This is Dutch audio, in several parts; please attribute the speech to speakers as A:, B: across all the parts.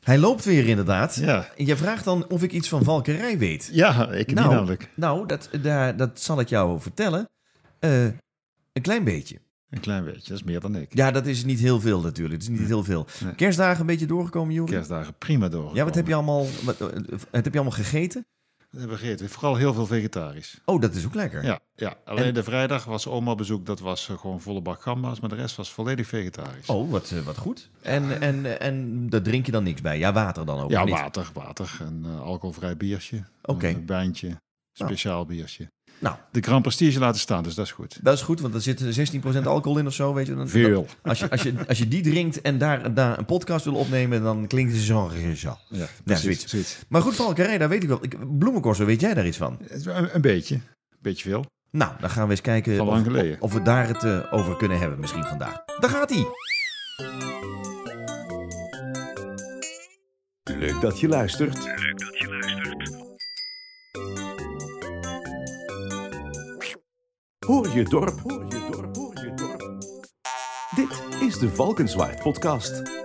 A: Hij loopt weer inderdaad.
B: Ja.
A: En Je vraagt dan of ik iets van valkerij weet.
B: Ja, ik
A: Nou.
B: niet namelijk.
A: Nou, dat, daar, dat zal ik jou vertellen. Eh, een klein beetje.
B: Een klein beetje, dat is meer dan ik.
A: Ja, dat is niet heel veel natuurlijk. Dat is niet heel veel.
B: Hm. Nee.
A: Kerstdagen een beetje doorgekomen, Juri?
B: Kerstdagen prima door.
A: Ja, wat heb je allemaal, wat, wat heb je allemaal gegeten?
B: We hebben gegeten. Vooral heel veel vegetarisch.
A: Oh, dat is ook lekker.
B: Ja, ja. alleen
A: En-
B: de vrijdag was oma bezoek. Dat was eh, gewoon volle bak gamba's. Maar de rest was volledig vegetarisch.
A: Oh, wat, eh, wat goed. En, en, en daar drink je dan niks bij? Ja, water dan ook?
B: ja,
A: of niet?
B: water, water. Een eh, alcoholvrij biertje.
A: Oké. Oh.
B: Een wijntje. Speciaal biertje.
A: Nou,
B: De Grand Prestige laten staan, dus dat is goed.
A: dat is goed, want er zit 16% alcohol in of zo, weet je. Dan,
B: Veel.
A: Als je, als, je, als je die drinkt en daar, daar een podcast wil opnemen, dan klinkt het zo.
B: Ja,
A: zoiets.
B: zoiets.
A: Maar goed, Valkerij, daar weet ik wel. Ik, bloemenkorso, weet jij daar iets van?
B: Eh, Een, een beetje. Een beetje veel.
A: Nou, dan gaan we eens kijken
B: Van
A: of,
B: lang geleden.
A: of we daar het eh, over kunnen hebben misschien vandaag. Daar gaat hij.
C: Leuk dat je luistert. Hoor je dorp, hoor je dorp, hoor je dorp. Dit is de Valkenswaard podcast.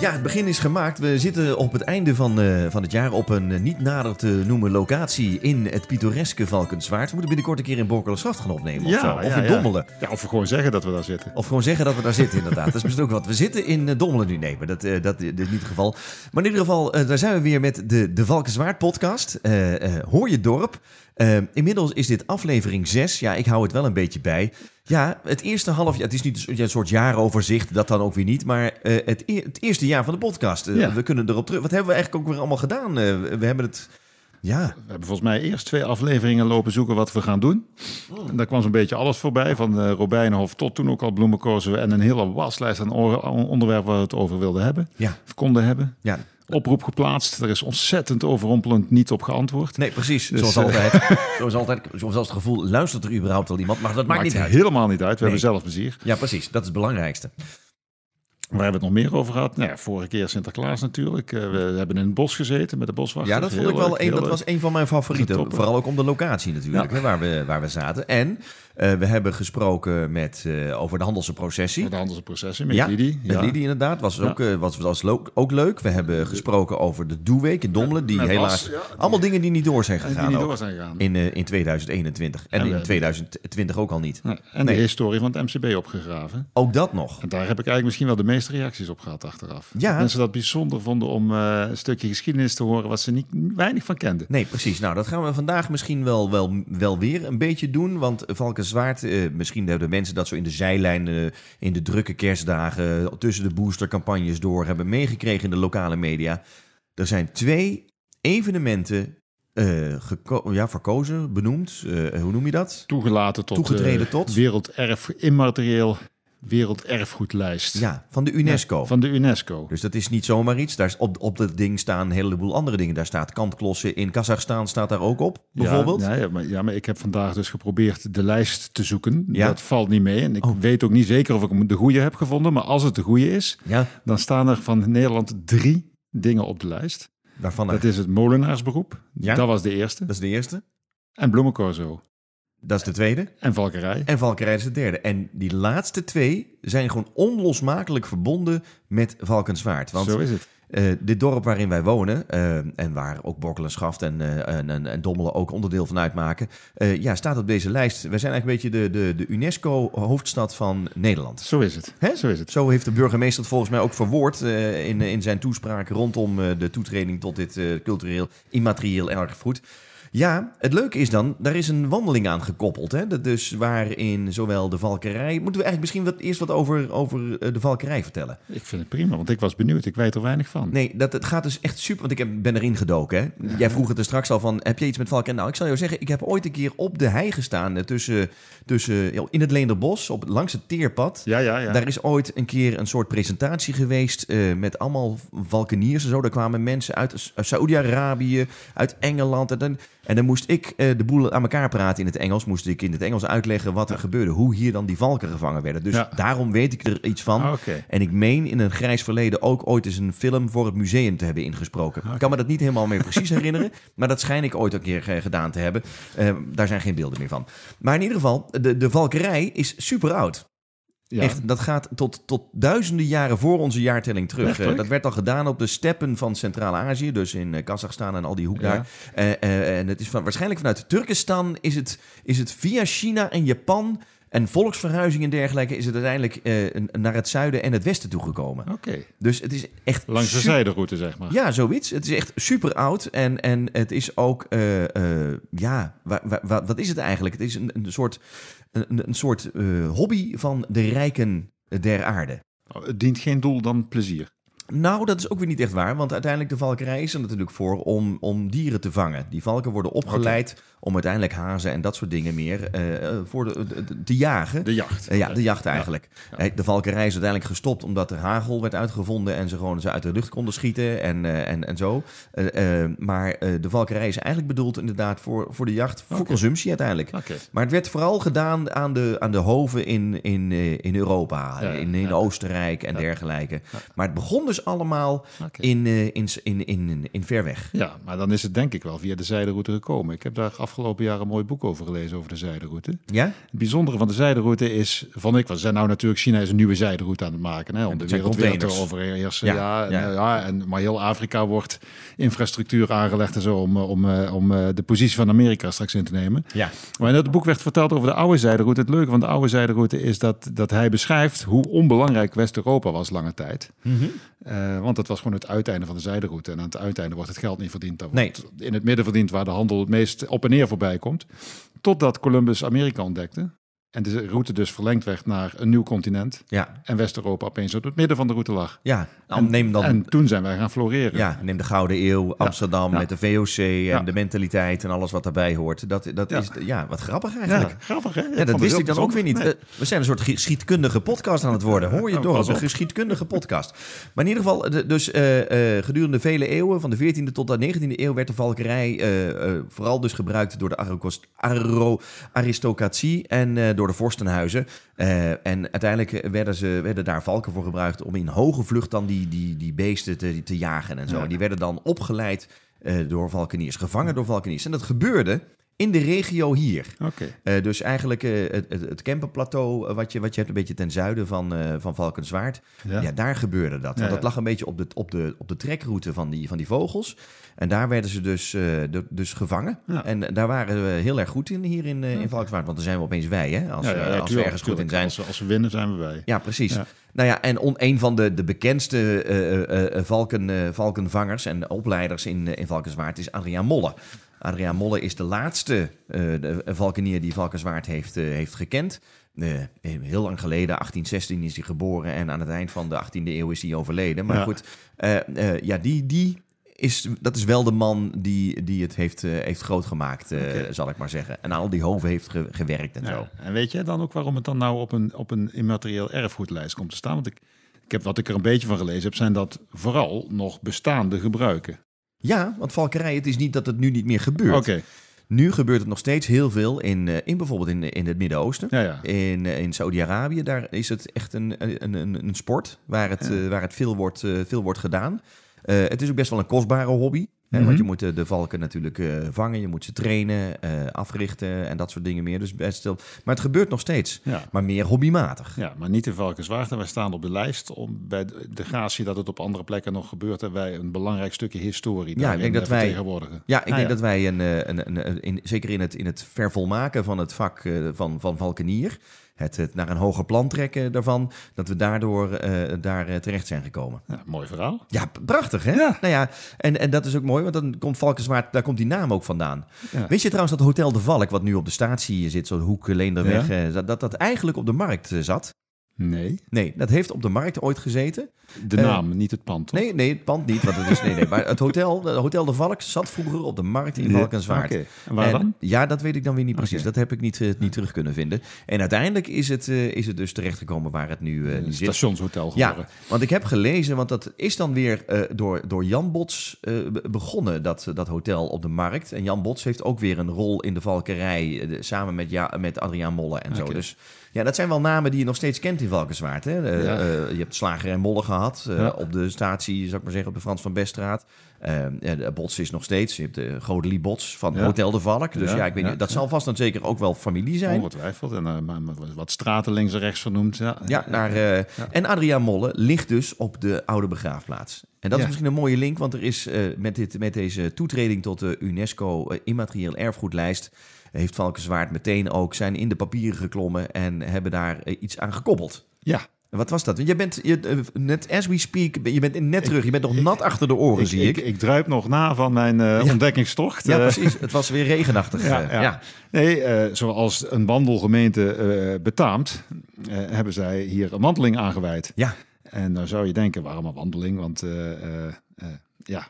A: Ja, het begin is gemaakt. We zitten op het einde van, eh, van het jaar op een eh, niet nader te noemen locatie in het pittoreske Valkenswaard. We moeten binnenkort een keer in Borkelenstraat gaan opnemen of zo. Of in Dommelen.
B: Ja, of we gewoon zeggen dat we daar zitten.
A: Of gewoon zeggen dat we daar zitten, inderdaad. Dat is misschien ook wat. We zitten in eh, Dommelen nu, nee, maar dat, eh, dat, eh, dat is niet het geval. Maar in ieder geval, eh, daar zijn we weer met de, de Valkenswaard podcast. Eh, eh, Hoor je dorp. Eh, inmiddels is dit aflevering 6. Ja, ik hou het wel een beetje bij. Ja, het eerste half jaar, het is niet een soort- ja, een soort jaaroverzicht, dat dan ook weer niet. Maar eh, het, e- het eerste jaar van de podcast, eh,
B: Ja.
A: we kunnen erop terug. Wat hebben we eigenlijk ook weer allemaal gedaan? Eh, we we hebben het, ja,
B: We hebben volgens mij eerst twee afleveringen lopen zoeken wat we gaan doen.
A: Hmm.
B: En daar kwam zo'n beetje alles voorbij, van eh Robijnenhof tot toen ook al bloemenkozen en een hele waslijst aan oor- aan onderwerpen waar we het over wilden hebben,
A: ja,
B: of konden hebben.
A: ja.
B: Oproep geplaatst, er is ontzettend overrompelend niet op geantwoord.
A: Nee, precies. zoals,
B: eh,
A: altijd, zoals altijd. Zoals het gevoel, luistert er überhaupt al iemand? Maar dat maakt niet uit.
B: helemaal niet uit, we
A: Nee.
B: hebben zelf plezier.
A: Ja, precies. Dat is het belangrijkste.
B: Waar hebben we het nog meer over gehad? Nou ja, vorige keer Sinterklaas natuurlijk. Eh, we hebben in het bos gezeten met de boswachter.
A: Ja, dat vond
B: Heel
A: ik wel
B: leuk,
A: een,
B: heel
A: dat
B: leuk.
A: was een van mijn
B: Dat is
A: favorieten.
B: top, hè?
A: Vooral ook om de locatie natuurlijk,
B: Ja.
A: hè, waar, we, waar we zaten. En eh, we hebben gesproken met, eh, over de handelse processie.
B: Met de handelsprocessen, met
A: ja,
B: Lidi.
A: met Lidi inderdaad. Was,
B: Ja.
A: ook, eh, was, was lo- ook leuk. We hebben gesproken over de Doeweek in Dommelen. Die
B: met Bas,
A: helaas...
B: ja.
A: allemaal dingen die niet door zijn
B: En die
A: gegaan
B: niet
A: ook.
B: door zijn gegaan.
A: In, eh, in 2021. En,
B: En we-
A: in 2020 ook al niet.
B: Ja, En
A: Nee.
B: de historie van het MCB opgegraven.
A: Ook dat nog.
B: En daar heb ik eigenlijk misschien wel de meeste reacties op gehad achteraf.
A: Ja.
B: Mensen dat bijzonder vonden om eh, een stukje geschiedenis te horen wat ze niet, weinig van kenden.
A: Nee, precies. Nou, dat gaan we vandaag misschien wel, wel, wel weer een beetje doen. Want Valkenswaard, eh, misschien hebben de mensen dat zo in de zijlijn... eh, in de drukke kerstdagen, tussen de boostercampagnes door... hebben meegekregen in de lokale media. Er zijn twee evenementen eh, geko- ja, verkozen, benoemd. Eh, hoe noem je dat?
B: Toegelaten tot
A: Toegetreden
B: eh,
A: tot?
B: Werelderf, immaterieel werelderfgoedlijst
A: Ja, van de UNESCO.
B: van de UNESCO.
A: Dus dat is niet zomaar iets. Daar is op, op dat ding staan een heleboel andere dingen. Daar staat kampklossen in Kazachstan staat daar ook op, bijvoorbeeld.
B: Ja, ja, ja, maar, ja, maar ik heb vandaag dus geprobeerd de lijst te zoeken.
A: Ja. Oh.
B: Dat valt niet mee. En ik weet ook niet zeker of ik de goede heb gevonden. Maar als het de goede is,
A: Ja,
B: dan staan er van Nederland drie dingen op de lijst.
A: waarvan er-
B: Dat is het molenaarsberoep.
A: Ja.
B: Dat was de eerste.
A: dat is de eerste.
B: En bloemencorso.
A: Dat is de tweede.
B: En valkerij.
A: En Valkenrij is de derde. En die laatste twee zijn gewoon onlosmakelijk verbonden met Valkenswaard. Want
B: Zo is het.
A: eh, dit dorp waarin wij wonen, eh, en waar ook Borkel en Schaft en, eh, en, en, en Dommelen ook onderdeel van uitmaken, eh, ja, staat op deze lijst. Wij zijn eigenlijk een beetje de, de, de UNESCO-hoofdstad van Nederland.
B: Zo is het.
A: Hè?
B: Zo is het.
A: Zo heeft de burgemeester het volgens mij ook verwoord eh, in, in zijn toespraak rondom eh, de toetreding tot dit eh, cultureel immaterieel erfgoed. Ja, het leuke is dan, daar is een wandeling aan gekoppeld. Hè? Dat dus waarin zowel de valkerij... Moeten we eigenlijk misschien wat, eerst wat over, over eh, de valkerij vertellen?
B: Ik vind het prima, want ik was benieuwd. Ik weet er weinig van.
A: Nee, dat, het gaat dus echt super. Want ik heb, ben erin gedoken. Hè? Jij vroeg het er straks al van: heb je iets met valken? Nou, ik zal jou zeggen, ik heb ooit een keer op de hei gestaan. eh, Tussen, tussen, ja, in het Leenderbos, op, langs het teerpad.
B: Ja, ja, ja.
A: Daar is ooit een keer een soort presentatie geweest eh, met allemaal valkeniers en zo. Daar kwamen mensen uit Saoedi-Arabië, uit Engeland. En dan, en dan moest ik eh, de boel aan elkaar praten in het Engels. Moest ik in het Engels uitleggen wat er gebeurde. Hoe hier dan die valken gevangen werden. Dus
B: Ja.
A: daarom weet ik er iets van.
B: Ah, Oké.
A: En ik meen in een grijs verleden ook ooit eens een film voor het museum te hebben ingesproken.
B: Ah,
A: Ik kan me dat niet helemaal meer precies herinneren. Maar dat schijn ik ooit een keer eh, gedaan te hebben. Eh, daar zijn geen beelden meer van. Maar in ieder geval, de, de valkerij is super oud.
B: Ja.
A: Echt, dat gaat tot, tot duizenden jaren voor onze jaartelling terug. Eh, dat werd al gedaan op de steppen van Centraal-Azië, dus in eh, Kazachstan en al die hoek
B: Ja.
A: daar. Eh, eh, en het is van, waarschijnlijk vanuit Turkestan is het, is het via China en Japan en volksverhuizing en dergelijke is het uiteindelijk eh, naar het zuiden en het westen toegekomen.
B: Oké.
A: Dus het is echt
B: Langs de
A: super-
B: zijderoute, zeg maar.
A: ja, zoiets. Het is echt super oud. En, en het is ook, eh, eh, ja, wa- wa- wa- wat is het eigenlijk? Het is een, een soort, een, een soort eh, hobby van de rijken eh, der aarde.
B: Oh, Het dient geen doel dan plezier.
A: Nou, dat is ook weer niet echt waar, want uiteindelijk de valkerij is er natuurlijk voor om, om dieren te vangen. Die valken worden opgeleid om uiteindelijk hazen en dat soort dingen meer eh, eh, voor de, de- de- te jagen.
B: De jacht.
A: Eh, ja, de jacht eigenlijk.
B: Ja.
A: Eh, De valkerij is uiteindelijk gestopt omdat er hagel werd uitgevonden en ze gewoon ze uit de lucht konden schieten en, eh, en, en zo. Eh, eh, maar eh, de valkerij is eigenlijk bedoeld inderdaad voor, voor de jacht, voor
B: Oké.
A: consumptie uiteindelijk.
B: Oké.
A: Maar het werd vooral gedaan aan de, aan de hoven in, in, eh, in Europa,
B: Ja,
A: in, in
B: ja.
A: Oostenrijk en
B: Ja.
A: dergelijke.
B: Ja.
A: Maar het begon dus allemaal
B: oké.
A: in, eh, in, in, in, in, in ver weg.
B: Ja, maar dan is het denk ik wel via de zijderoute gekomen. Ik heb daar afgelopen jaar een mooi boek over gelezen, over de zijderoute.
A: Ja?
B: Het bijzondere van de zijderoute is, van ik was, zijn nou natuurlijk China is een nieuwe zijderoute aan het maken. Hè, om de
A: dat zijn
B: wereld weer te
A: containers.
B: overheersen.
A: Ja,
B: Ja, en,
A: ja.
B: eh, ja, en, maar heel Afrika wordt infrastructuur aangelegd en zo om, eh, om, eh, om eh, de positie van Amerika straks in te nemen.
A: Ja.
B: Maar in dat boek werd verteld over de oude zijderoute. Het leuke van de oude zijderoute is dat, dat hij beschrijft hoe onbelangrijk West-Europa was lange tijd. Eh, want dat was gewoon het uiteinde van de zijderoute. En aan het uiteinde wordt het geld niet verdiend. Dan
A: Nee.
B: wordt het in het midden verdiend waar de handel het meest op en neer voorbij komt. Totdat Columbus Amerika ontdekte. En de route dus verlengd werd naar een nieuw continent.
A: Ja.
B: En West-Europa opeens op het midden van de route lag.
A: Ja, nou, neem dan
B: En toen zijn wij gaan floreren.
A: Ja, neem de Gouden Eeuw, Amsterdam
B: Ja.
A: met de VOC en
B: Ja.
A: de mentaliteit en alles wat daarbij hoort. Dat, dat
B: Ja.
A: is ja, wat grappig
B: Ja,
A: eigenlijk. Ja.
B: grappig hè?
A: dat
B: vond
A: wist
B: heel
A: ik dan ook weer niet.
B: bijzonder.
A: Eh, We zijn een soort geschiedkundige podcast aan het worden. Hoor je
B: Oh,
A: door
B: pas
A: als een
B: op.
A: geschiedkundige podcast. Maar in ieder geval, de- dus eh, eh, gedurende vele eeuwen, van de 14e tot de 19e eeuw, werd de valkerij eh, eh, vooral dus gebruikt door de arokos- aro- aristocratie en eh, door de vorstenhuizen. Eh, en uiteindelijk werden, ze, werden daar valken voor gebruikt om in hoge vlucht dan die, die, die beesten te, te jagen en zo.
B: Ja.
A: En die werden dan opgeleid eh, door valkeniers, gevangen door valkeniers. En dat gebeurde in de regio hier.
B: Nee. Oké.
A: Eh, dus eigenlijk eh, het, het, het Kempenplateau, eh, wat, je, wat je hebt een beetje ten zuiden van, eh, van Valkenswaard. Ja.
B: Ja.
A: daar gebeurde dat. Want
B: Ja,
A: dat
B: ja.
A: lag een beetje op de, op de, op de trekroute van die, van die vogels. En daar werden ze dus, eh, du- dus gevangen.
B: Ja.
A: En daar waren we heel erg goed in hier in, eh, in Valkenswaard. Want dan zijn we opeens wij, hè? Als,
B: Ja,
A: we-
B: ja, ja,
A: als we
B: tuurlijk,
A: ergens goed in
B: tuurlijk.
A: zijn.
B: Als, we- als we winnen zijn we wij.
A: Ja, precies.
B: Ja.
A: Nou ja, en on, een van de, de bekendste eh, eh, eh, valken, eh, valkenvangers en opleiders in, eh, in Valkenswaard is Adriaan Molle. Adriaan Molle is de laatste eh, de valkenier die Valkenswaard heeft, eh, heeft gekend. Eh, heel lang geleden, 1816, is hij geboren en aan het eind van de 18e eeuw is hij overleden. Maar
B: Ja.
A: goed, eh, eh, ja, die, die is, dat is wel de man die, die het heeft, eh, heeft grootgemaakt, eh,
B: Oké.
A: zal ik maar zeggen. En aan al die hoven heeft ge- gewerkt en zo.
B: Ja, En weet jij dan ook waarom het dan nou op een, op een immaterieel erfgoedlijst komt te staan? Want ik, ik heb, wat ik er een beetje van gelezen heb, zijn dat vooral nog bestaande gebruiken.
A: Ja, want valkerij, het is niet dat het nu niet meer gebeurt.
B: Oké,
A: Nu gebeurt het nog steeds heel veel in, eh, in bijvoorbeeld in, in het Midden-Oosten.
B: ja, ja.
A: In, eh, in Saudi-Arabië, daar is het echt een, een, een, een sport waar het, eh, waar het veel, wordt, eh, veel wordt gedaan. Eh, het is ook best wel een kostbare hobby. Hè,
B: Mhm.
A: Want je moet eh, de valken natuurlijk eh, vangen, je moet ze trainen, eh, africhten en dat soort dingen meer. Dus best wel. Maar het gebeurt nog steeds,
B: ja.
A: maar meer hobbymatig.
B: Ja, maar niet in Valkenswaard. En wij staan op de lijst om bij de de gratie dat het op andere plekken nog gebeurt. En wij een belangrijk stukje historie
A: ik
B: daarin
A: denk dat
B: eh,
A: wij-
B: vertegenwoordigen.
A: Ja, ik
B: Ah,
A: denk
B: ja.
A: dat wij, een, eh, een, een, een- in, zeker in het, in het vervolmaken van het vak eh, van, van Valkenier, het, het naar een hoger plan trekken daarvan, dat we daardoor eh, daar eh, terecht zijn gekomen.
B: Ja, mooi verhaal.
A: Ja, p- prachtig hè?
B: Ja.
A: Nou ja, en, en dat is ook mooi, want dan komt Valkenswaard, daar komt die naam ook vandaan.
B: Ja.
A: Wist je trouwens dat Hotel de Valk, wat nu op de statie zit, zo'n hoek eh, Leenderweg,
B: Ja.
A: eh, dat, dat dat eigenlijk op de markt eh, zat?
B: Nee,
A: Nee, dat heeft op de markt ooit gezeten.
B: de
A: Eh,
B: naam, niet het pand. toch?
A: Nee, nee, het pand niet, want het is... Nee, nee, maar het hotel, eh, Hotel de Valk zat vroeger op de markt in Valkenswaard.
B: Oké. En waar
A: En- eh,
B: dan?
A: Ja, dat weet ik dan weer niet precies.
B: Oké.
A: Dat heb ik niet, eh, niet terug kunnen vinden. En uiteindelijk is het, eh, is het dus terechtgekomen waar het nu, eh, nu
B: Een
A: zit.
B: stationshotel
A: Ja,
B: geworden.
A: want ik heb gelezen, want dat is dan weer eh, door, door Jan Bots eh, be- begonnen, dat, dat hotel op de markt. En Jan Bots heeft ook weer een rol in de valkerij, eh, de- samen met, ja, met Adriaan Molle en zo.
B: Oké.
A: Dus Ja, dat zijn wel namen die je nog steeds kent in Valkenswaard. Hè? Eh,
B: Ja.
A: eh, je hebt Slager en Molle gehad eh,
B: Ja.
A: op de statie, zou ik maar zeggen, op de Frans van Beststraat. Eh, ja, de Bots is nog steeds. Je hebt de Godelie Bots van
B: Ja.
A: Hotel de Valk. Dus ja,
B: Ja,
A: ik weet
B: ja,
A: niet, dat
B: ja.
A: zal vast en zeker ook wel familie zijn.
B: Ongetwijfeld. En eh, maar- maar wat straten links en rechts vernoemd. Ja,
A: Ja, naar, eh, En Adriaan Molle ligt dus op de oude begraafplaats. En dat is
B: Ja.
A: misschien een mooie link, want er is eh, met, dit, met deze toetreding tot de UNESCO eh, immaterieel erfgoedlijst... heeft Valkenswaard meteen ook zijn in de papieren geklommen en hebben daar eh, iets aan gekoppeld.
B: ja.
A: En Wat was dat? Want Je bent je, eh, net as we speak, ben- je bent net terug. Je bent nog nat achter de oren,
B: Ik,
A: zie ik.
B: ik, ik druip nog na van mijn eh, ontdekkingstocht.
A: ja,
B: Eh,
A: precies. Het was weer regenachtig.
B: Ja,
A: eh,
B: ja. Nee, eh, zoals een wandelgemeente eh, betaamt, eh, hebben zij hier een wandeling aangeweid.
A: Ja.
B: En dan zou je denken, waarom een wandeling? Want eh, eh, eh, ja,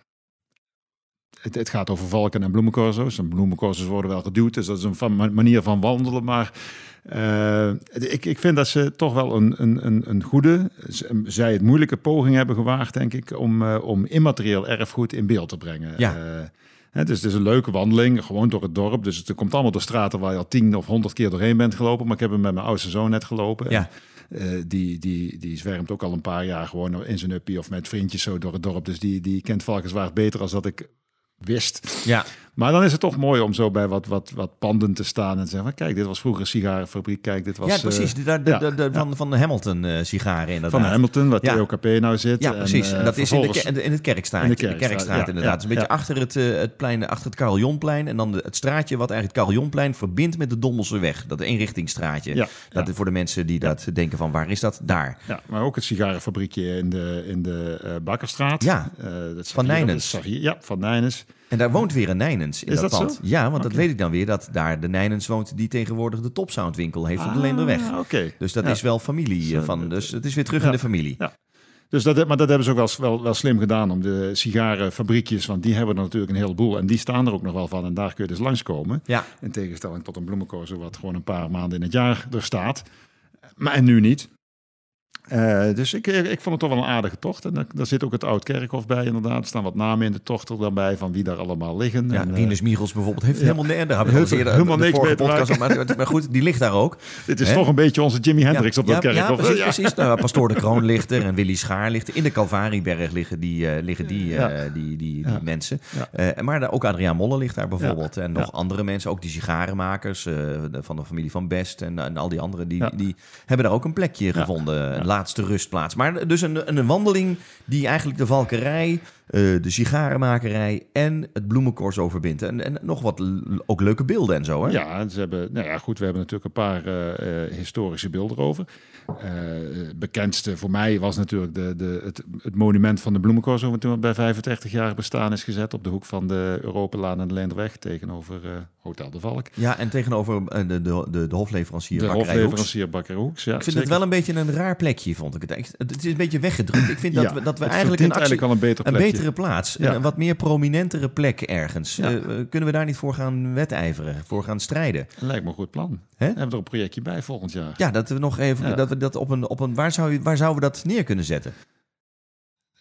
B: het, het gaat over valken en bloemencorso's. En bloemencorso's worden wel geduwd, dus dat is een van- ma- manier van wandelen. Maar eh, ik, ik vind dat ze toch wel een, een, een, een goede, z- zij het moeilijke poging hebben gewaagd, denk ik, om, eh, om immaterieel erfgoed in beeld te brengen.
A: Ja.
B: Eh, hè, dus het is een leuke wandeling, gewoon door het dorp. Dus het komt allemaal door straten waar je al tien of honderd keer doorheen bent gelopen. Maar ik heb hem met mijn oudste zoon net gelopen.
A: Ja.
B: Eh, die, die, die zwermt ook al een paar jaar gewoon in zijn uppie of met vriendjes zo door het dorp. Dus die, die kent Valkenswaard beter als dat ik wist.
A: ja.
B: Maar dan is het toch mooi om zo bij wat, wat, wat panden te staan en te zeggen... van, kijk, dit was vroeger een sigarenfabriek, kijk, dit was...
A: Ja,
B: eh,
A: precies. De- de- de-
B: ja,
A: de- de- van, van de Hamilton eh, sigaren inderdaad.
B: van Hamilton, waar
A: Ja.
B: TOKP nou zit.
A: Ja,
B: En,
A: precies.
B: eh,
A: en dat is in de,
B: vervolgens-
A: ke- in het kerkstraat.
B: in
A: In
B: de
A: de kerkstraat,
B: Kerkstraat, ja,
A: inderdaad.
B: ja,
A: Dus een beetje
B: ja.
A: achter het, eh, het plein, achter het Carillonplein. En dan de- het straatje wat eigenlijk Carillonplein verbindt met de Dommelseweg. Dat eenrichtingsstraatje.
B: Ja,
A: dat
B: ja.
A: is voor de mensen die dat denken van waar is dat? Daar.
B: Ja, maar ook het sigarenfabriekje in de, in de eh, Bakkerstraat.
A: Ja,
B: Eh, dat zag
A: Van
B: je- dat
A: Nijnens.
B: zag je- Ja, van Nijnens.
A: En daar woont weer een Nijnens in
B: Is
A: dat,
B: dat
A: pand.
B: zo?
A: Ja, want dat weet ik dan weer dat daar de Nijnens woont die tegenwoordig de topsoundwinkel heeft op de Leenderweg.
B: Ah, Oké.
A: Dus dat
B: Ja.
A: is wel familie eh, van. Dus het is weer terug in de familie.
B: Ja. Dus dat, maar dat hebben ze ook wel, wel, wel slim gedaan om de sigarenfabriekjes, want die hebben er natuurlijk een heleboel en die staan er ook nog wel van en daar kun je dus langskomen.
A: Ja.
B: In tegenstelling tot een bloemenkozen wat gewoon een paar maanden in het jaar er staat. Maar en nu niet. Eh, dus ik, ik vond het toch wel een aardige tocht. En daar, daar zit ook het Oud Kerkhof bij inderdaad. Er staan wat namen in de tocht er dan bij van wie daar allemaal liggen.
A: Ja,
B: En, eh,
A: Rinus Michels bijvoorbeeld heeft
B: ja.
A: helemaal nergens. Daar hebben we
B: Heel-
A: al eens eerder
B: helemaal
A: de
B: niks
A: vorige
B: mee te
A: podcast over, Maar, maar goed, die ligt daar ook.
B: dit is
A: Hè?
B: toch een beetje onze Jimi Hendrix op dat
A: ja,
B: kerkhof.
A: Ja, precies. precies. Nou, Pastoor de Kroon ligt er en Willy Schaar ligt er. In de Calvarieberg liggen die, eh, liggen die, eh,
B: Ja.
A: die, die, die
B: Ja.
A: mensen.
B: Ja.
A: Eh, maar daar- ook Adriaan Molle ligt daar bijvoorbeeld. En nog
B: Ja.
A: andere mensen, ook die sigarenmakers eh, de- van de familie van Best en, en al die anderen. Die,
B: Ja.
A: die hebben daar ook een plekje gevonden. Een laatste rustplaats. Maar dus een, een, een wandeling die eigenlijk de valkerij... eh, de sigarenmakerij en het bloemenkorst overbindt. En, en nog wat l- ook leuke beelden en zo. Hè?
B: Ja, en ze hebben, nou ja, goed, we hebben natuurlijk een paar eh, eh, historische beelden over. Eh, het bekendste voor mij was natuurlijk de, de, het, het monument van de bloemencorso, wat toen bij 35 jaar bestaan is gezet op de hoek van de Europalaan en de Leenderweg tegenover eh, Hotel de Valk.
A: Ja, en tegenover eh, de, de, de, de hofleverancier
B: de
A: Bakkerij Hoeks.
B: hofleverancier Bakker Hoeks. Ja,
A: Ik vind het wel een beetje een raar plekje, vond ik het. Echt, Het is een beetje weggedrukt. Ik vind dat we, dat we eigenlijk een, actie,
B: eigenlijk wel een beter
A: een
B: plekje.
A: betere plaats,
B: Ja.
A: een, een wat meer prominentere plek ergens.
B: Ja.
A: Eh, eh, kunnen we daar niet voor gaan wedijveren, voor gaan strijden?
B: Lijkt me een goed plan.
A: Hè?
B: We hebben er een projectje bij volgend jaar.
A: Ja, dat we nog even,
B: Ja.
A: dat we dat op een, op een waar, zou, je- waar zouden we dat neer kunnen zetten?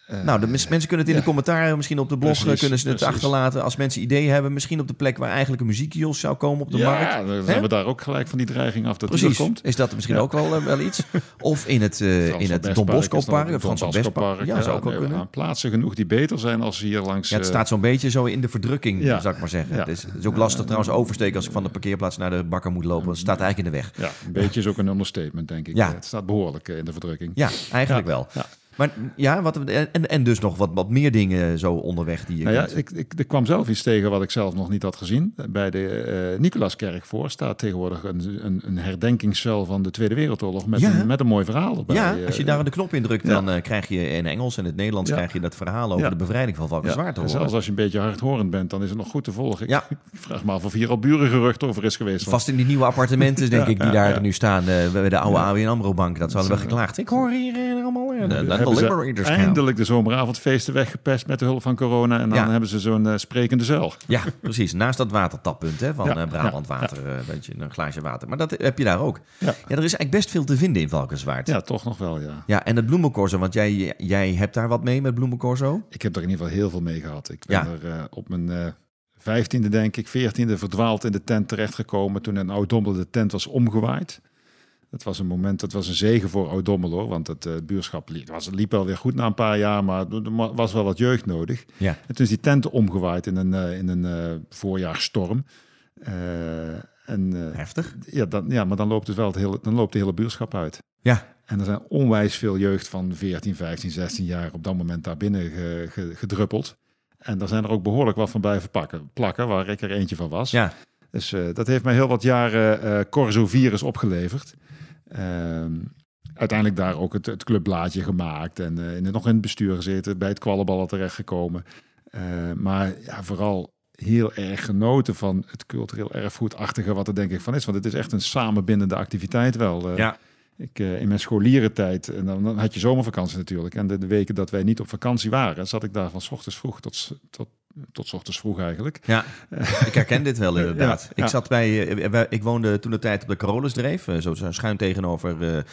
B: Eh,
A: nou, de mes- mensen kunnen het in de
B: ja.
A: commentaren, misschien op de blog eh,
B: Precies,
A: kunnen ze het
B: precies.
A: achterlaten. Als mensen ideeën hebben, misschien op de plek waar eigenlijk een muziekkiosk zou komen op de
B: ja,
A: markt.
B: dan
A: Hè?
B: zijn we daar ook gelijk van die dreiging af dat die
A: Precies,
B: er komt.
A: is dat misschien
B: Ja.
A: ook wel, eh, wel iets? Of in het, eh,
B: Frans
A: in
B: van
A: het
B: Bestpark
A: Don
B: is dan ook
A: Bosco-park,
B: een
A: Frans van
B: Don Bosco
A: Bestpark. Ja, zou ook wel
B: eh, nee,
A: kunnen.
B: aan Plaatsen genoeg die beter zijn als hier langs...
A: Ja, het
B: eh,
A: staat zo'n beetje zo in de verdrukking,
B: Ja.
A: zou ik maar zeggen.
B: Ja.
A: Het, is, het is ook lastig trouwens oversteken als ik van de parkeerplaats naar de bakker moet lopen. want Het staat eigenlijk in de weg.
B: Ja, een beetje is ook een understatement, denk ik.
A: Ja.
B: Het staat behoorlijk eh, in de verdrukking.
A: Ja, eigenlijk wel.
B: Ja.
A: Maar ja, wat, en, en dus nog wat, wat meer dingen zo onderweg die je
B: Nou ja,
A: kunt-
B: ik, ik, er kwam zelf iets tegen wat ik zelf nog niet had gezien. Bij de eh Nicolaaskerk voor staat tegenwoordig een, een, een herdenkingscel van de Tweede Wereldoorlog met,
A: Ja.
B: een, met een mooi verhaal erbij.
A: Ja,
B: eh,
A: als je daar de knop in drukt,
B: ja.
A: dan eh, krijg je in Engels en het Nederlands
B: Ja.
A: krijg je dat verhaal over
B: Ja.
A: de bevrijding van
B: eh, ja.
A: Valkenswaard te
B: en
A: horen.
B: zelfs als je een beetje hardhorend bent, dan is het nog goed te volgen. Ik,
A: Ja.
B: ik vraag me af of hier al burengerucht over is geweest. want
A: Vast in die nieuwe appartementen, denk ik, die daar nu staan eh, bij de oude ABN AMRO-bank. Dat zouden we geklaagd. Ik hoor hier eh, allemaal... eh, de- de
B: hebben ze
A: Liberators gaan.
B: eindelijk de zomeravondfeesten weggepest met de hulp van corona. En dan
A: Ja.
B: hebben ze zo'n eh, sprekende zuil.
A: Ja, precies. Naast dat watertappunt hè, van
B: Ja,
A: eh, Brabant Water, eh, weet je, een glaasje water. Maar dat heb je daar ook. Ja.
B: Ja.
A: er is eigenlijk best veel te vinden in Valkenswaard. Ja,
B: Ja, toch nog wel, ja.
A: en het bloemencorso, want jij, jij hebt daar wat mee met bloemencorso?
B: Ik heb er in ieder geval heel veel mee gehad. Ik ben
A: Ja.
B: er eh, op mijn eh, vijftiende, denk ik, veertiende verdwaald in de tent terechtgekomen. Toen een oud dommel de tent was omgewaaid. Dat was een moment, dat was een zegen voor Oud-Dommelo. Want het eh, buurschap liep, was, liep wel weer goed na een paar jaar, maar er was wel wat jeugd nodig.
A: Ja.
B: En toen is die tent omgewaaid in een, eh, in een eh, voorjaarsstorm. Eh, en eh,
A: Heftig.
B: ja, dan, ja, maar dan loopt, dus wel het hele, dan loopt de hele buurschap uit.
A: Ja.
B: En er zijn onwijs veel jeugd van 14, 15, 16 jaar op dat moment daar binnen ge- ge- gedruppeld. En daar zijn er ook behoorlijk wat van blijven pakken, plakken, waar ik er eentje van was.
A: Ja.
B: Dus eh, dat heeft mij heel wat jaren eh Corso-virus opgeleverd. Ehm, uiteindelijk daar ook het, het clubblaadje gemaakt en eh, in het- nog in het bestuur gezeten, bij het kwallenballen terechtgekomen. Eh, maar ja, vooral heel erg genoten van het cultureel erfgoedachtige wat er denk ik van is. Want het is echt een samenbindende activiteit wel. eh,
A: Ja.
B: ik, eh, in mijn scholieren-tijd, en dan, dan had je zomervakantie natuurlijk. En de, de weken dat wij niet op vakantie waren, zat ik daar van 's ochtends vroeg tot, s- tot, tot 's ochtends vroeg eigenlijk.
A: Ja, ik herken dit wel inderdaad.
B: Ja,
A: Ik
B: ja.
A: zat bij, eh, wij- ik woonde toen de tijd op de Carolus-dreef, eh, zo zo schuin tegenover eh, eh,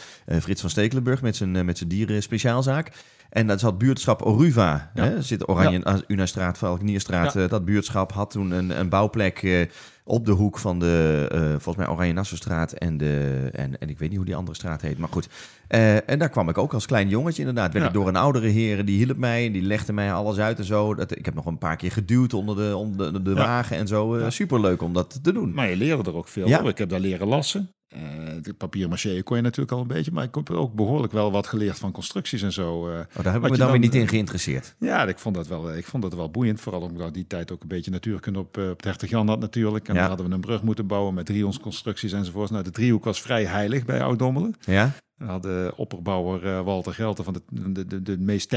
A: Frits van Stekelenburg met zijn, eh, met zijn dieren speciaalzaak. En dat zat buurtschap Oruva.
B: Ja.
A: Hè? Zit Oranje, ah, Unastraat, Valkenierstraat. Eh, dat buurtschap had toen een, een bouwplek eh, op de hoek van de, eh, volgens mij, Oranje Nassaustraat en de, en, en ik weet niet hoe die andere straat heet, maar goed. Eh, en daar kwam ik ook als klein jongetje inderdaad. Werd
B: Ja.
A: ik door een oudere heren, die hielp mij en die legde mij alles uit en zo. Dat, ik heb nog een paar keer geduwd onder de, onder de, de
B: Ja.
A: wagen en zo. Eh,
B: Ja.
A: Superleuk om dat te doen.
B: Maar je leerde er ook veel
A: Ja.
B: hoor. Ik heb daar leren lassen. Eh de papier maché kon je natuurlijk al een beetje, maar ik heb ook behoorlijk wel wat geleerd van constructies en zo.
A: Oh,
B: eh.
A: daar heb ik
B: Wat
A: me
B: je
A: dan weer
B: dan-
A: niet in geïnteresseerd.
B: ja, ik vond, dat wel, eh, ik vond dat wel boeiend. Vooral omdat ik die tijd ook een beetje natuurkunde op, eh, op het Hertog-Jan had natuurlijk. En
A: Ja.
B: daar hadden we een brug moeten bouwen met driehoeksconstructies enzovoorts. Nou, de driehoek was vrij heilig bij Oud-Dommelen.
A: Ja?
B: We hadden opperbouwer eh, Walter Gelten van de, de, de, de meest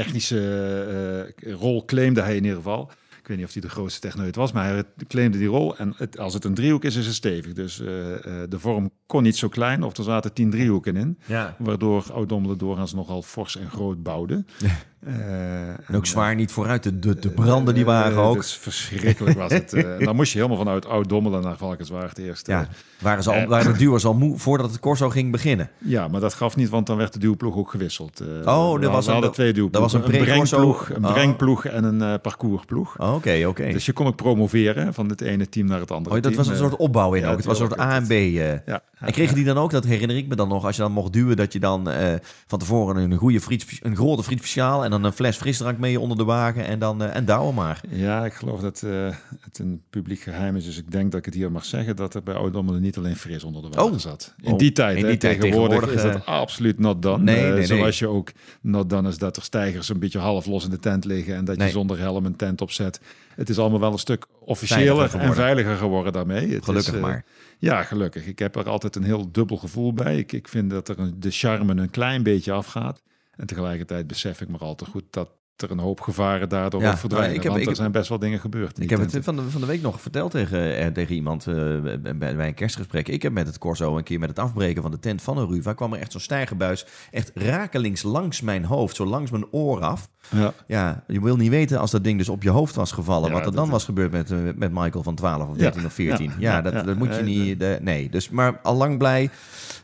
B: technische eh, rol claimde hij in ieder geval. Ik weet niet of hij de grootste techneut was, maar hij claimde die rol. En het, als het een driehoek is, is het stevig. Dus eh, eh, de vorm kon niet zo klein, of er zaten tien driehoeken in.
A: ja.
B: Waardoor Oud-Dommelen doorgaans nogal fors en groot bouwde. Eh,
A: En ook zwaar niet vooruit. De, de, de branden die waren
B: eh,
A: ook.
B: dus verschrikkelijk was het. eh. En dan moest je helemaal vanuit Oud-Dommelen naar Valkenswaard eerst. eh,
A: ja, waren, ze al,
B: eh,
A: waren de duwers al moe voordat het corso ging beginnen.
B: Ja, maar dat gaf niet, want dan werd de duwploeg ook gewisseld. Eh,
A: Oh, er
B: we
A: was een-
B: hadden twee duwploegen.
A: er was een pre-corso.
B: brengploeg, een
A: Oh.
B: brengploeg en een eh, parcoursploeg.
A: Oké, oké.
B: Dus je kon ook promoveren van het ene team naar het andere
A: Oh, dat
B: team.
A: was een
B: Eh,
A: soort opbouw in
B: ja,
A: ook. Het was een soort A en B. eh.
B: Ja,
A: En kregen die dan ook, dat herinner ik me dan nog, als je dan mocht duwen, dat je dan eh, van tevoren een goede friet, een grote friet speciaal en dan een fles frisdrank mee onder de wagen en dan eh en douwen maar.
B: ja, ik geloof dat eh, het een publiek geheim is. Dus ik denk dat ik het hier mag zeggen dat er bij Oud-Dommelen niet alleen fris onder de wagen
A: Oh.
B: zat. In
A: Oh,
B: die tijd,
A: in
B: hè,
A: die tijd
B: tegenwoordig,
A: tegenwoordig, eh,
B: is dat absoluut not done.
A: Nee,
B: Eh,
A: nee, nee.
B: Zoals je ook not done is dat er stijgers een beetje half los in de tent liggen en dat
A: Nee.
B: je zonder helm een tent opzet. Het is allemaal wel een stuk officiëler en
A: geworden.
B: veiliger geworden daarmee. Het is,
A: Gelukkig
B: eh,
A: maar.
B: Ja, gelukkig. Ik heb er altijd een heel dubbel gevoel bij. Ik, ik vind dat er een, de charme een klein beetje afgaat. En tegelijkertijd besef ik maar al te goed dat er een hoop gevaren daardoor
A: Ja,
B: ook verdwijnen.
A: nou, ik heb-
B: want
A: ik
B: er
A: heb-
B: zijn best wel dingen gebeurd. in
A: Ik
B: die
A: heb het
B: tenten.
A: van de, van de week nog verteld tegen, eh, tegen iemand eh, bij, bij een kerstgesprek. Ik heb met het Corso een keer met het afbreken van de tent van een Ruva kwam er echt zo'n stijgerbuis echt rakelings langs mijn hoofd, zo langs mijn oor af.
B: Ja.
A: Ja, je wil niet weten als dat ding dus op je hoofd was gevallen,
B: Ja,
A: wat er
B: dat
A: dan
B: is-
A: was gebeurd met, eh, met Michael van 12 of
B: Ja,
A: 13 of 14. Ja,
B: ja, ja,
A: dat,
B: ja.
A: dat moet je
B: Eh,
A: niet. eh, nee, dus maar al lang blij.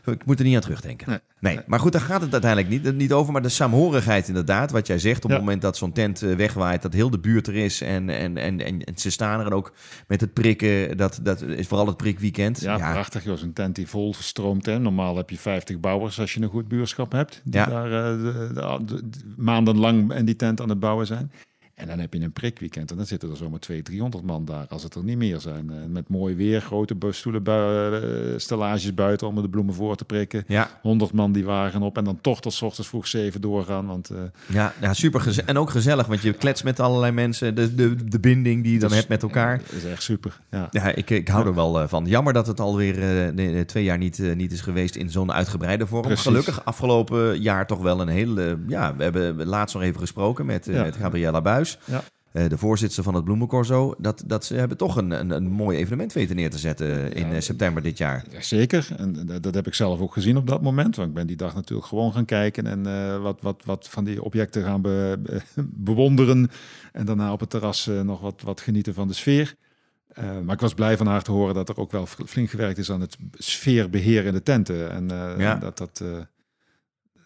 A: Ik moet er niet aan terugdenken. Nee,
B: Nee.
A: maar goed, daar gaat het uiteindelijk niet, eh, niet over. Maar de saamhorigheid inderdaad, wat jij zegt, op het
B: Ja.
A: moment dat zo'n tent eh, wegwaait, dat heel de buurt er is en, en, en, en, en ze staan er en ook met het prikken. Dat, dat is vooral het prikweekend.
B: Ja, prachtig. Joh. Zo'n tent die vol stroomt. Hè. Normaal heb je 50 bouwers als je een goed buurschap hebt. Die
A: Ja.
B: daar eh, de- de- de- de- maandenlang in die tent aan het bouwen zijn. En dan heb je een prikweekend. En dan zitten er zomaar 200, 300 man daar. Als het er niet meer zijn. Eh, met mooi weer, grote bu- stoelen, bui- eh, stellages buiten om de bloemen voor te prikken.
A: ja,
B: 100 man die wagen op. En dan toch tot 's ochtends vroeg 7 doorgaan. Want eh,
A: ja, ja super En ook gezellig, want je klets met allerlei mensen. De, de, de binding die je dan
B: Dus-
A: hebt met elkaar.
B: dat is echt super. Ja.
A: Ja, ik, ik hou er wel eh, van. Jammer dat het alweer eh, nee, nee, twee jaar niet, eh, niet is geweest in zo'n uitgebreide vorm.
B: Precies.
A: Gelukkig afgelopen jaar toch wel een hele... eh, ja, we hebben laatst nog even gesproken met, eh,
B: Ja.
A: met Gabriella Buis.
B: Ja.
A: eh, de voorzitter van het Bloemencorso. Dat, dat ze hebben toch een, een, een mooi evenement weten neer te zetten in
B: Ja.
A: eh, september dit jaar.
B: Ja, zeker. En eh, dat- dat heb ik zelf ook gezien op dat moment. Want ik ben die dag natuurlijk gewoon gaan kijken en eh, wat, wat, wat van die objecten gaan be- be- bewonderen. En daarna op het terras eh, nog wat, wat genieten van de sfeer. Eh, maar ik was blij van haar te horen dat er ook wel fl- flink gewerkt is aan het sfeerbeheer in de tenten. En eh,
A: Ja.
B: dat dat. eh,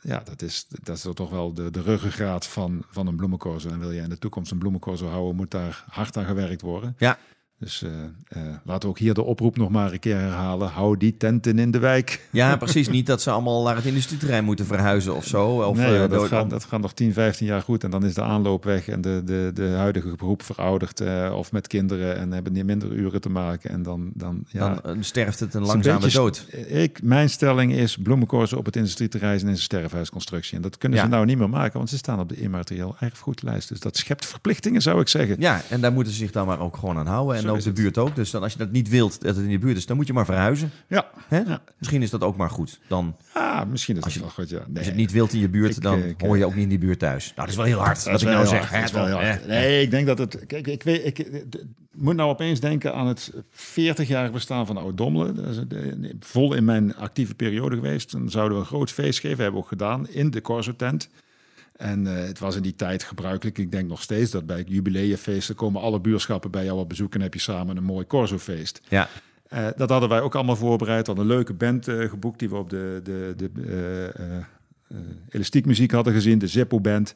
B: ja, dat is, dat is toch wel de, de ruggengraat van, van een bloemencorso. En wil je in de toekomst een bloemencorso houden, moet daar hard aan gewerkt worden.
A: Ja.
B: Dus eh, eh, laten we ook hier de oproep nog maar een keer herhalen. Hou die tenten in de wijk.
A: Ja, precies. Niet dat ze allemaal naar het industrieterrein moeten verhuizen of zo. Of,
B: nee,
A: eh,
B: joh, dat,
A: door-
B: gaat, dat gaat nog 10, 15 jaar goed. En dan is de aanloop weg en de, de, de huidige groep verouderd. eh, of met kinderen en hebben niet minder uren te maken. En dan, dan, ja,
A: dan eh, sterft het een
B: is een
A: langzame
B: beetje- eh,
A: dood.
B: Ik, mijn stelling is bloemenkorzen op het industrieterrein en in een sterfhuisconstructie. En dat kunnen
A: Ja.
B: ze nou niet meer maken, want ze staan op de immaterieel erfgoedlijst. Dus dat schept verplichtingen, zou ik zeggen.
A: Ja, en daar moeten ze zich dan maar ook gewoon aan houden. En
B: Zo
A: ook
B: is
A: de
B: het.
A: buurt ook. Dus dan, als je dat niet wilt, dat het in de buurt is, dan moet je maar verhuizen.
B: Ja,
A: Hè?
B: Ja.
A: Misschien is dat ook maar goed. Dan,
B: Ah, misschien is
A: Als
B: dat
A: je-
B: wel goed. Ja. Nee.
A: als je het niet wilt in je buurt,
B: Ik,
A: dan
B: eh, ik,
A: hoor je ook niet in die buurt thuis. Nou, dat is wel heel hard,
B: Dat
A: als
B: is
A: ik
B: wel
A: nou
B: heel
A: zeg.
B: hard, dat
A: hè,
B: is wel
A: dan,
B: heel hard.
A: hè.
B: Nee, ik denk dat het. Kijk, ik, weet, ik, ik moet nou opeens denken aan het 40-jarig bestaan van Oud Dommelen. Dat is de- vol in mijn actieve periode geweest. Dan zouden we een groot feest geven, hebben we ook gedaan in de Corso tent. En eh, het was in die tijd gebruikelijk. Ik denk nog steeds dat bij jubileumfeesten komen alle buurschappen bij jou op bezoek en heb je samen een mooi Corso-feest.
A: Ja,
B: Eh, dat hadden wij ook allemaal voorbereid. Al een leuke band eh, geboekt die we op de, de, de eh, eh, eh, elastiekmuziek hadden gezien, de Zippo Band.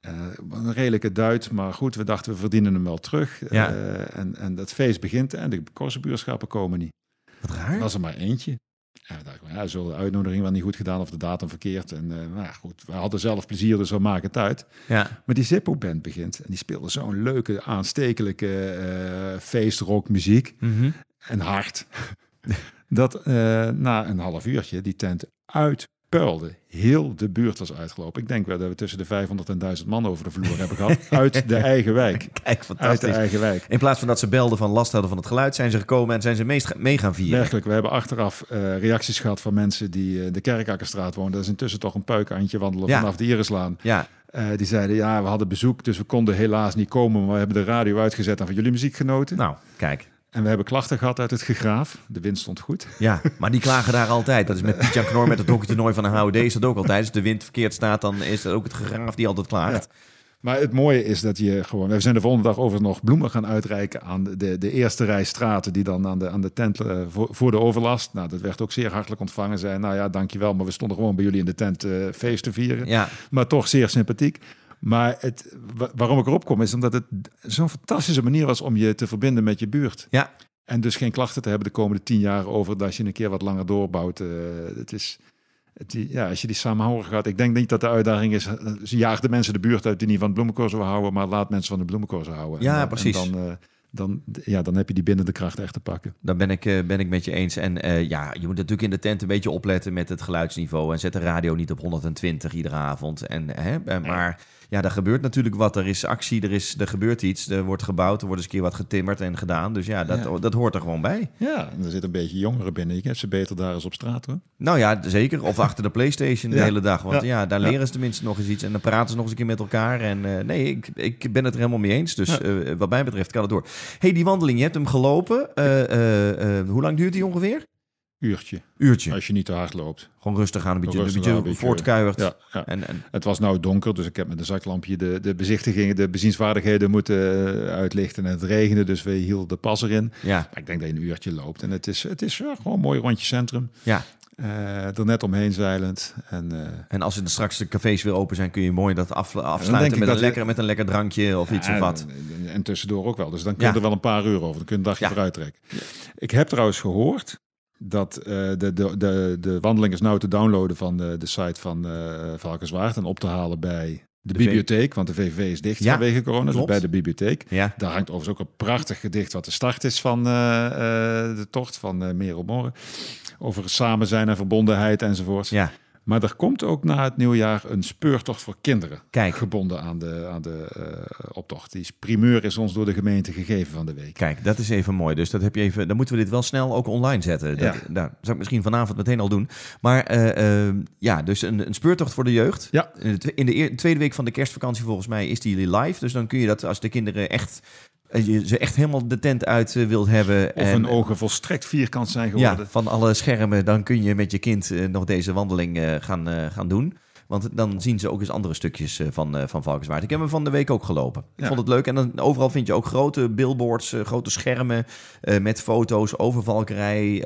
B: Eh, een redelijke duit, maar goed, we dachten we verdienen hem wel terug.
A: Ja.
B: Eh, en, en dat feest begint en de korsenbuurschappen komen niet.
A: wat
B: Er
A: raar.
B: was er maar eentje. En we dachten, ja, zullen de uitnodiging wel niet goed gedaan of de datum verkeerd. En eh, nou ja, goed, we hadden zelf plezier, dus we maken het uit.
A: Ja,
B: Maar die Zippo Band begint en die speelde zo'n leuke, aanstekelijke eh feestrockmuziek
A: Mhm.
B: en hard. dat eh, na een half uurtje die tent uitpuilde. Heel de buurt was uitgelopen. Ik denk wel dat we tussen de 500 en 1000 man over de vloer hebben gehad. Uit de eigen wijk.
A: kijk,
B: Uit de
A: fantastisch.
B: eigen wijk.
A: In plaats van dat ze belden van last hadden van het geluid, zijn ze gekomen en zijn ze meest mee gaan vieren.
B: Werkelijk, we hebben achteraf eh, reacties gehad van mensen die eh, de Kerkakkerstraat woonden. Dat is intussen toch een puikantje wandelen
A: Ja.
B: vanaf de Irislaan.
A: Ja,
B: Eh, die zeiden, ja, we hadden bezoek, dus we konden helaas niet komen. Maar we hebben de radio uitgezet en van jullie muziek genoten.
A: nou, kijk.
B: En we hebben klachten gehad uit het gegraaf. De wind stond goed.
A: Ja, maar die klagen daar altijd. Dat is met Piet Jan Knor met het hockeytoernooi van de HOD is dat ook altijd. Als de wind verkeerd staat, dan is dat ook het gegraaf die altijd klaagt.
B: Maar het mooie is dat je gewoon... We zijn de volgende dag overigens nog bloemen gaan uitreiken aan de, de eerste rij straten... die dan aan de, aan de tent eh, voor, voor de overlast. Nou, dat werd ook zeer hartelijk ontvangen. Zeiden, nou ja, dankjewel, maar we stonden gewoon bij jullie in de tent eh, feest te vieren.
A: Ja,
B: Maar toch zeer sympathiek. Maar het, wa- waarom ik erop kom is omdat het zo'n fantastische manier was... om je te verbinden met je buurt.
A: ja.
B: En dus geen klachten te hebben de komende tien jaar over dat je een keer wat langer doorbouwt. Eh, het is, het, die- ja, als je die samenhoren gaat, ik denk niet dat de uitdaging is, eh, ze jaag de mensen de buurt uit die niet van de bloemenkorzen wil houden, maar laat mensen van de bloemenkorzen houden.
A: Ja,
B: En dan-
A: precies.
B: En dan, eh, dan, ja, dan heb je die binnen de kracht echt te pakken.
A: Dan ben ik, eh, ben ik met je eens. En eh, ja, je moet natuurlijk in de tent een beetje opletten met het geluidsniveau. En zet de radio niet op 120 iedere avond. En, hè, eh, maar ja, er gebeurt natuurlijk wat. Er is actie, er, is, er gebeurt iets. Er wordt gebouwd, er wordt eens een keer wat getimmerd en gedaan. Dus ja, dat,
B: Ja.
A: dat hoort er gewoon bij.
B: Ja, en er zit een beetje jongeren binnen. Je kent ze beter daar eens op straat hoor.
A: Nou ja, zeker. Of achter de PlayStation de
B: Ja.
A: hele dag. Want ja,
B: Ja.
A: daar
B: Ja.
A: leren ze tenminste nog eens iets. En dan praten ze nog eens een keer met elkaar. En eh, nee, ik, ik ben het er helemaal mee eens. Dus
B: Ja.
A: eh, wat mij betreft kan het door. hey, die wandeling, je hebt hem gelopen. Eh, eh, eh, hoe lang duurt die ongeveer?
B: Uurtje,
A: Uurtje.
B: als je niet te hard loopt.
A: Gewoon rustig aan, een beetje,
B: Rustig
A: een beetje
B: aan, een beetje-
A: voortkuierd.
B: Ja, ja.
A: En, en,
B: Het was nou donker, dus ik heb met een zaklampje de, de bezichtigingen, de bezienswaardigheden moeten eh, uitlichten. En het regende, dus we hielden de pas erin.
A: ja,
B: Maar ik denk dat je een uurtje loopt. En het is, het is ja, gewoon een mooi rondje centrum.
A: ja.
B: Eh er net omheen zeilend. En, eh,
A: En als er straks de cafés weer open zijn, kun je mooi dat af,
B: denk
A: afsluiten
B: ik
A: met een,
B: dat je-
A: lekker, met een lekker drankje of iets
B: ja,
A: of wat.
B: En, en tussendoor ook wel. Dus dan kun je
A: Ja.
B: er wel een paar uur over. Dan kun je een dagje
A: Ja.
B: vooruit trekken. Ik heb trouwens gehoord dat eh, de, de, de, de wandeling is nou te downloaden van de, de site van eh Valkenswaard. En op te halen bij de,
A: De
B: bibliotheek. Want de VVV is dicht
A: Ja,
B: vanwege corona. Dus
A: klopt.
B: bij de bibliotheek.
A: Ja,
B: Daar hangt overigens ook een prachtig gedicht wat de start is van eh, eh, de tocht van eh Merel Morren. Over samen zijn en verbondenheid enzovoort.
A: ja.
B: Maar er komt ook na het nieuwjaar een speurtocht voor kinderen.
A: Kijk.
B: Gebonden aan de, aan de eh, optocht. Die is- primeur is ons door de gemeente gegeven van de week.
A: Kijk, dat is even mooi. Dus dat heb je even. Dan moeten we dit wel snel ook online zetten. Dat,
B: Ja.
A: Nou, dat zou ik misschien vanavond meteen al doen. Maar eh, eh, ja, dus een, een speurtocht voor de jeugd.
B: Ja.
A: In de, twe- in de eer- tweede week van de kerstvakantie volgens mij is die live. Dus dan kun je dat als de kinderen echt eh, je ze echt helemaal de tent uit eh, wilt hebben.
B: Of hun ogen volstrekt vierkant zijn
A: ja,
B: geworden.
A: van alle schermen, dan kun je met je kind eh, nog deze wandeling eh, gaan, eh, gaan doen. Want dan zien ze ook eens andere stukjes eh, van, eh, van Valkenswaard. Ik heb hem van de week ook gelopen. Ik
B: Ja.
A: vond het leuk. En dan overal vind je ook grote billboards, eh, grote schermen eh, met foto's over Valkerij,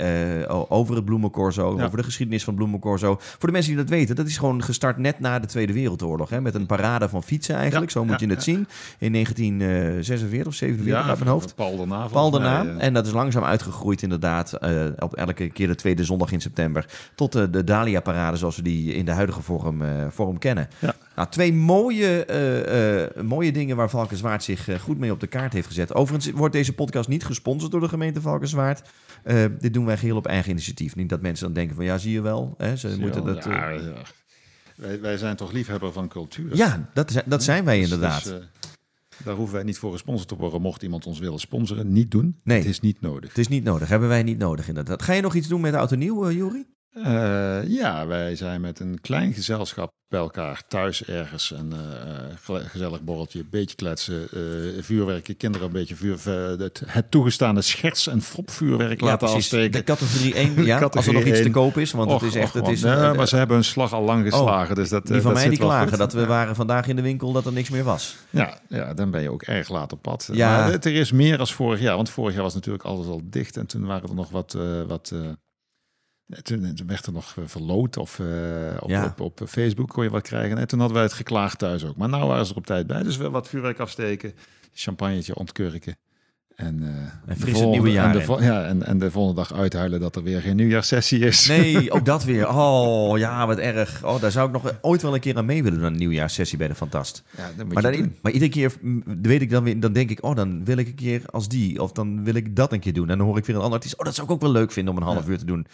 A: eh, o- over het bloemencorso,
B: Ja.
A: over de geschiedenis van het bloemencorso. Voor de mensen die dat weten, dat is gewoon gestart net na de Tweede Wereldoorlog. Hè, met een parade van fietsen eigenlijk, zo
B: Ja,
A: moet
B: ja,
A: je het
B: ja.
A: zien. In 1946 of 47 uit mijn hoofd.
B: Paul daarna.
A: Paul
B: volgens
A: de
B: mij,
A: Naam.
B: eh.
A: En dat is langzaam uitgegroeid inderdaad. eh, op elke keer de tweede zondag in september. Tot eh, de Dalia-parade zoals we die in de huidige vorm, eh, vorm kennen.
B: Ja.
A: Nou, twee mooie, eh, eh, mooie dingen waar Valkenswaard zich eh, goed mee op de kaart heeft gezet. Overigens wordt deze podcast niet gesponsord door de gemeente Valkenswaard. Eh, dit doen wij geheel op eigen initiatief. Niet dat mensen dan denken van ja, zie je wel. Hè, ze
B: Zie je
A: moeten
B: wel?
A: dat... eh,
B: Ja, ja. Wij, wij zijn toch liefhebber van cultuur.
A: ja, dat, zijn- dat zijn wij
B: Dus-
A: inderdaad.
B: dus, eh, daar hoeven wij niet voor gesponsord te worden. Mocht iemand ons willen sponsoren, niet doen.
A: Nee.
B: Het is niet nodig.
A: Het is niet nodig. Hebben wij niet nodig inderdaad. Ga je nog iets doen met Oud en Nieuw, eh, Juri?
B: Eh, ja, wij zijn met een klein gezelschap bij elkaar thuis ergens. Een eh, gele- gezellig borreltje, een beetje kletsen, eh, vuurwerken, kinderen een beetje vuur. ver- Het, het toegestane scherts- en fopvuurwerk
A: Ja,
B: laten
A: precies.
B: afsteken.
A: De categorie 1, ja, als er nog
B: Categorie
A: iets te
B: één.
A: koop is. Want
B: Och,
A: het is echt...
B: och,
A: Het
B: man.
A: is,
B: Nee,
A: eh, Oh,
B: maar ze hebben hun slag al lang geslagen. dus dat, eh,
A: die van
B: dat
A: mij die
B: zit wel
A: klagen
B: goed.
A: dat we waren vandaag in de winkel dat er niks meer was.
B: Ja, ja, dan ben je ook erg laat op pad.
A: Ja.
B: Maar het- er is meer als vorig jaar, want vorig jaar was natuurlijk alles al dicht. En toen waren er nog wat... eh, wat eh, toen toen werd er nog eh, verloot of eh, op,
A: Ja.
B: op, op Facebook kon je wat krijgen. En toen hadden wij het geklaagd thuis ook. Maar nou waren ze er op tijd bij. Dus we wat vuurwerk afsteken, champagnetje ontkurken. En, eh, de
A: fris het
B: volgende-
A: nieuwe jaar
B: en de,
A: in.
B: vol- ja, en, en de volgende dag uithuilen dat er weer geen nieuwjaarssessie is.
A: Nee, ook dat weer. Oh, ja, wat erg. Oh, daar zou ik nog ooit wel een keer aan mee willen doen, een nieuwjaarssessie bij de Fantast.
B: Ja, dat moet
A: Maar,
B: je
A: dan,
B: doen.
A: maar iedere keer mm, weet ik dan weer, dan denk ik, oh, dan wil ik een keer als die. Of dan wil ik dat een keer doen. En dan hoor ik weer een ander artiest. Oh, dat zou ik ook wel leuk vinden om een half uur te doen.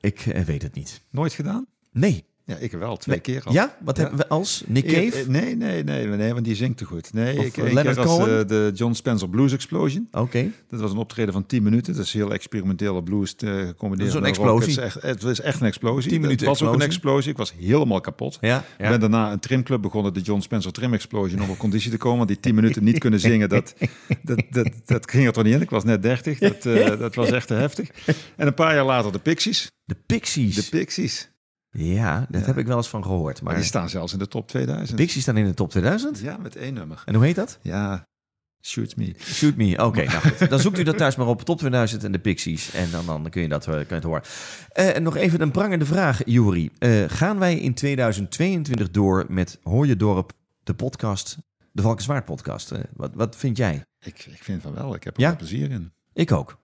A: Ik eh, weet het niet.
B: Nooit gedaan?
A: Nee.
B: Ja, ik wel. Twee keer al.
A: Ja? Wat
B: Ja.
A: hebben we als? Nick
B: Eer-
A: Cave?
B: eh, Nee, nee, nee, nee, want die zingt te goed. Nee,
A: Of,
B: ik,
A: eh,
B: een
A: Leonard
B: keer was,
A: Cohen?
B: eh, de John Spencer Blues Explosion.
A: Oké.
B: Dat was een optreden van 10 minuten. Dat is heel experimentele blues eh, gecombineerd.
A: Zo'n
B: met rock.
A: explosie.
B: Het is echt, het is echt een explosie.
A: 10 minuten
B: Het was ook een
A: explosie.
B: explosie. Ik was helemaal kapot.
A: Ja,
B: Ik ben daarna een trimclub begonnen, de John Spencer Trim Explosion, om op conditie te komen. Want die 10 minuten niet kunnen zingen, dat, dat, dat, dat ging er toch niet in. Ik was net 30. Dat, eh, dat was echt te heftig. En een paar jaar later de Pixies.
A: De Pixies.
B: De Pixies.
A: ja, dat heb ik wel eens van gehoord.
B: Maar
A: Maar
B: die staan zelfs in de top 2000.
A: Pixies staan in de top 2000.
B: Ja, met één nummer.
A: En hoe heet dat?
B: Ja, shoot me.
A: Shoot me. Oké, nou goed. Dan zoekt u dat thuis maar op. Top 2000 en de Pixies. En dan, dan kun je dat eh, kun je het horen. Eh, en nog even een prangende vraag, Juri. Eh, gaan wij in 2022 door met Hoor je Dorp, de podcast, de Valkenswaard podcast? Eh, wat, wat vind jij?
B: Ik, ik vind van wel. Ik heb er
A: Ja?
B: wel plezier in.
A: Ik ook.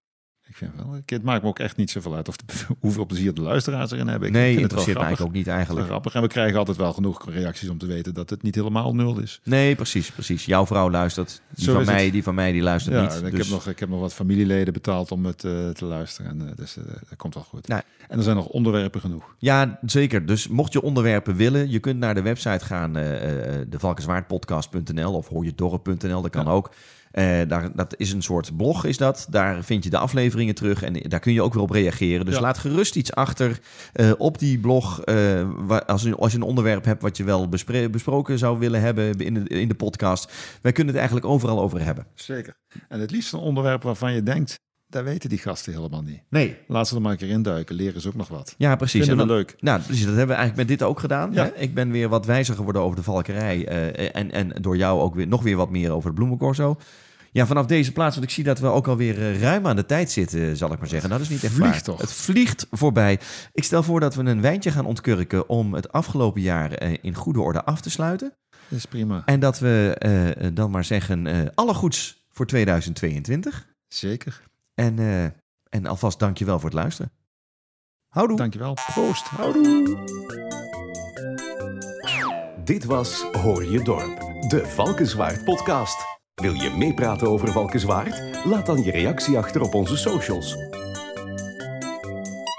B: Ik vind wel. ik- Het maakt me ook echt niet zoveel uit of de- hoeveel plezier de luisteraars erin hebben. Ik
A: nee,
B: vind het wel
A: interesseert mij
B: grappig.
A: ook niet eigenlijk.
B: Grappig. En we krijgen altijd wel genoeg reacties om te weten dat het niet helemaal nul is.
A: Nee, precies, precies. Jouw vrouw luistert. Die
B: Zo
A: van
B: is het.
A: mij, die van mij, die luistert
B: Ja,
A: niet.
B: en ik,
A: Dus-
B: heb nog, ik heb nog wat familieleden betaald om het eh, te luisteren. En, eh, dus eh, dat komt wel goed.
A: Nou.
B: En er zijn nog onderwerpen genoeg.
A: Ja, zeker. Dus mocht je onderwerpen willen, je kunt naar de website gaan, eh, eh, devalkenswaardpodcast.nl of hoorjedorp.nl, dat kan ook. Eh, daar, dat is een soort blog, is dat. Daar vind je de afleveringen terug en daar kun je ook weer op reageren. Dus
B: Ja.
A: laat gerust iets achter eh, op die blog. eh, waar- als, je, als je een onderwerp hebt wat je wel bespre- besproken zou willen hebben in de, in de podcast. Wij kunnen het eigenlijk overal over hebben.
B: Zeker. En het liefst een onderwerp waarvan je denkt, daar weten die gasten helemaal niet.
A: Nee.
B: Laat ze er maar een keer induiken. Leren ze ook nog wat.
A: Ja, precies.
B: Vinden
A: En
B: we
A: dan-
B: leuk.
A: Nou, precies. Dat hebben we eigenlijk met dit ook gedaan.
B: Ja.
A: Hè? Ik ben weer wat wijzer geworden over de valkerij. eh, en, en door jou ook weer, nog weer wat meer over het bloemencorso. Ja, vanaf deze plaats, want ik zie dat we ook alweer eh, ruim aan de tijd zitten, zal ik maar zeggen. Nou, dat is niet echt
B: Vliegt
A: waar.
B: toch?
A: Het vliegt voorbij. Ik stel voor dat we een wijntje gaan ontkurken om het afgelopen jaar eh, in goede orde af te sluiten.
B: Dat is prima.
A: En dat we eh, dan maar zeggen, eh, alle goeds voor 2022.
B: Zeker.
A: En, eh en alvast dankjewel voor het luisteren. Houdoe.
B: Dankjewel. Proost.
C: Dit was Hoor je dorp, de Valkenswaard podcast. Wil je meepraten over Valkenswaard? Laat dan je reactie achter op onze socials.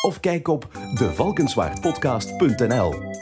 C: Of kijk op devalkenswaardpodcast.nl.